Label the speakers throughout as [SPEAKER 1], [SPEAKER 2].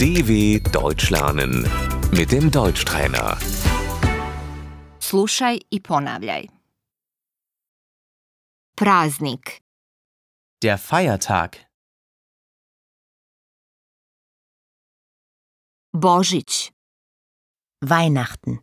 [SPEAKER 1] DW Deutsch lernen mit dem Deutschtrainer.
[SPEAKER 2] Slušaj i ponavljaj. Praznik,
[SPEAKER 3] Der Feiertag.
[SPEAKER 2] Božić,
[SPEAKER 4] Weihnachten,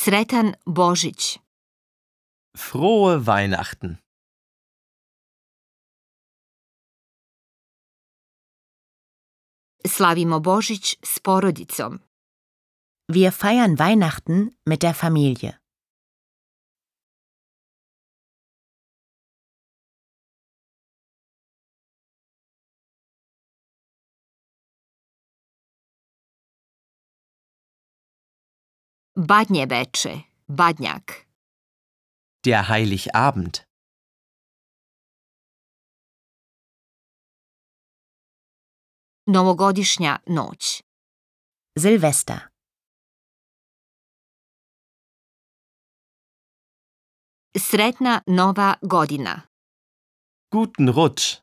[SPEAKER 2] sretan Božić,
[SPEAKER 3] Frohe Weihnachten.
[SPEAKER 2] slavimo Božić s porodicom,
[SPEAKER 4] wir feiern Weihnachten mit der Familie.
[SPEAKER 2] badnje veče, badnjak,
[SPEAKER 3] Der Heiligabend.
[SPEAKER 2] novogodišnja noć,
[SPEAKER 4] Silvester,
[SPEAKER 2] sretna nova godina,
[SPEAKER 3] Guten Rutsch.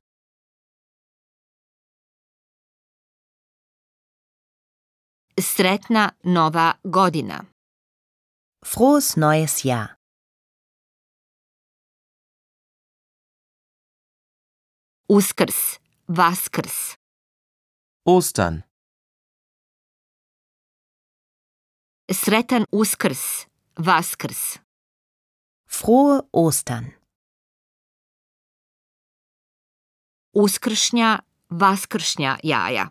[SPEAKER 2] sretna nova godina,
[SPEAKER 4] frohes neues Jahr.
[SPEAKER 2] uskrs, vaskrs,
[SPEAKER 3] Ostern.
[SPEAKER 2] sretan uskrs, vaskrs,
[SPEAKER 4] Frohe Ostern,
[SPEAKER 2] uskršnja, vaskršnja jaja,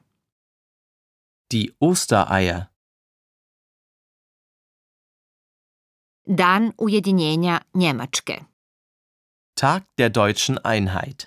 [SPEAKER 3] Die Ostereier.
[SPEAKER 2] dan ujedinjenja Njemačke,
[SPEAKER 3] Tag der deutschen Einheit.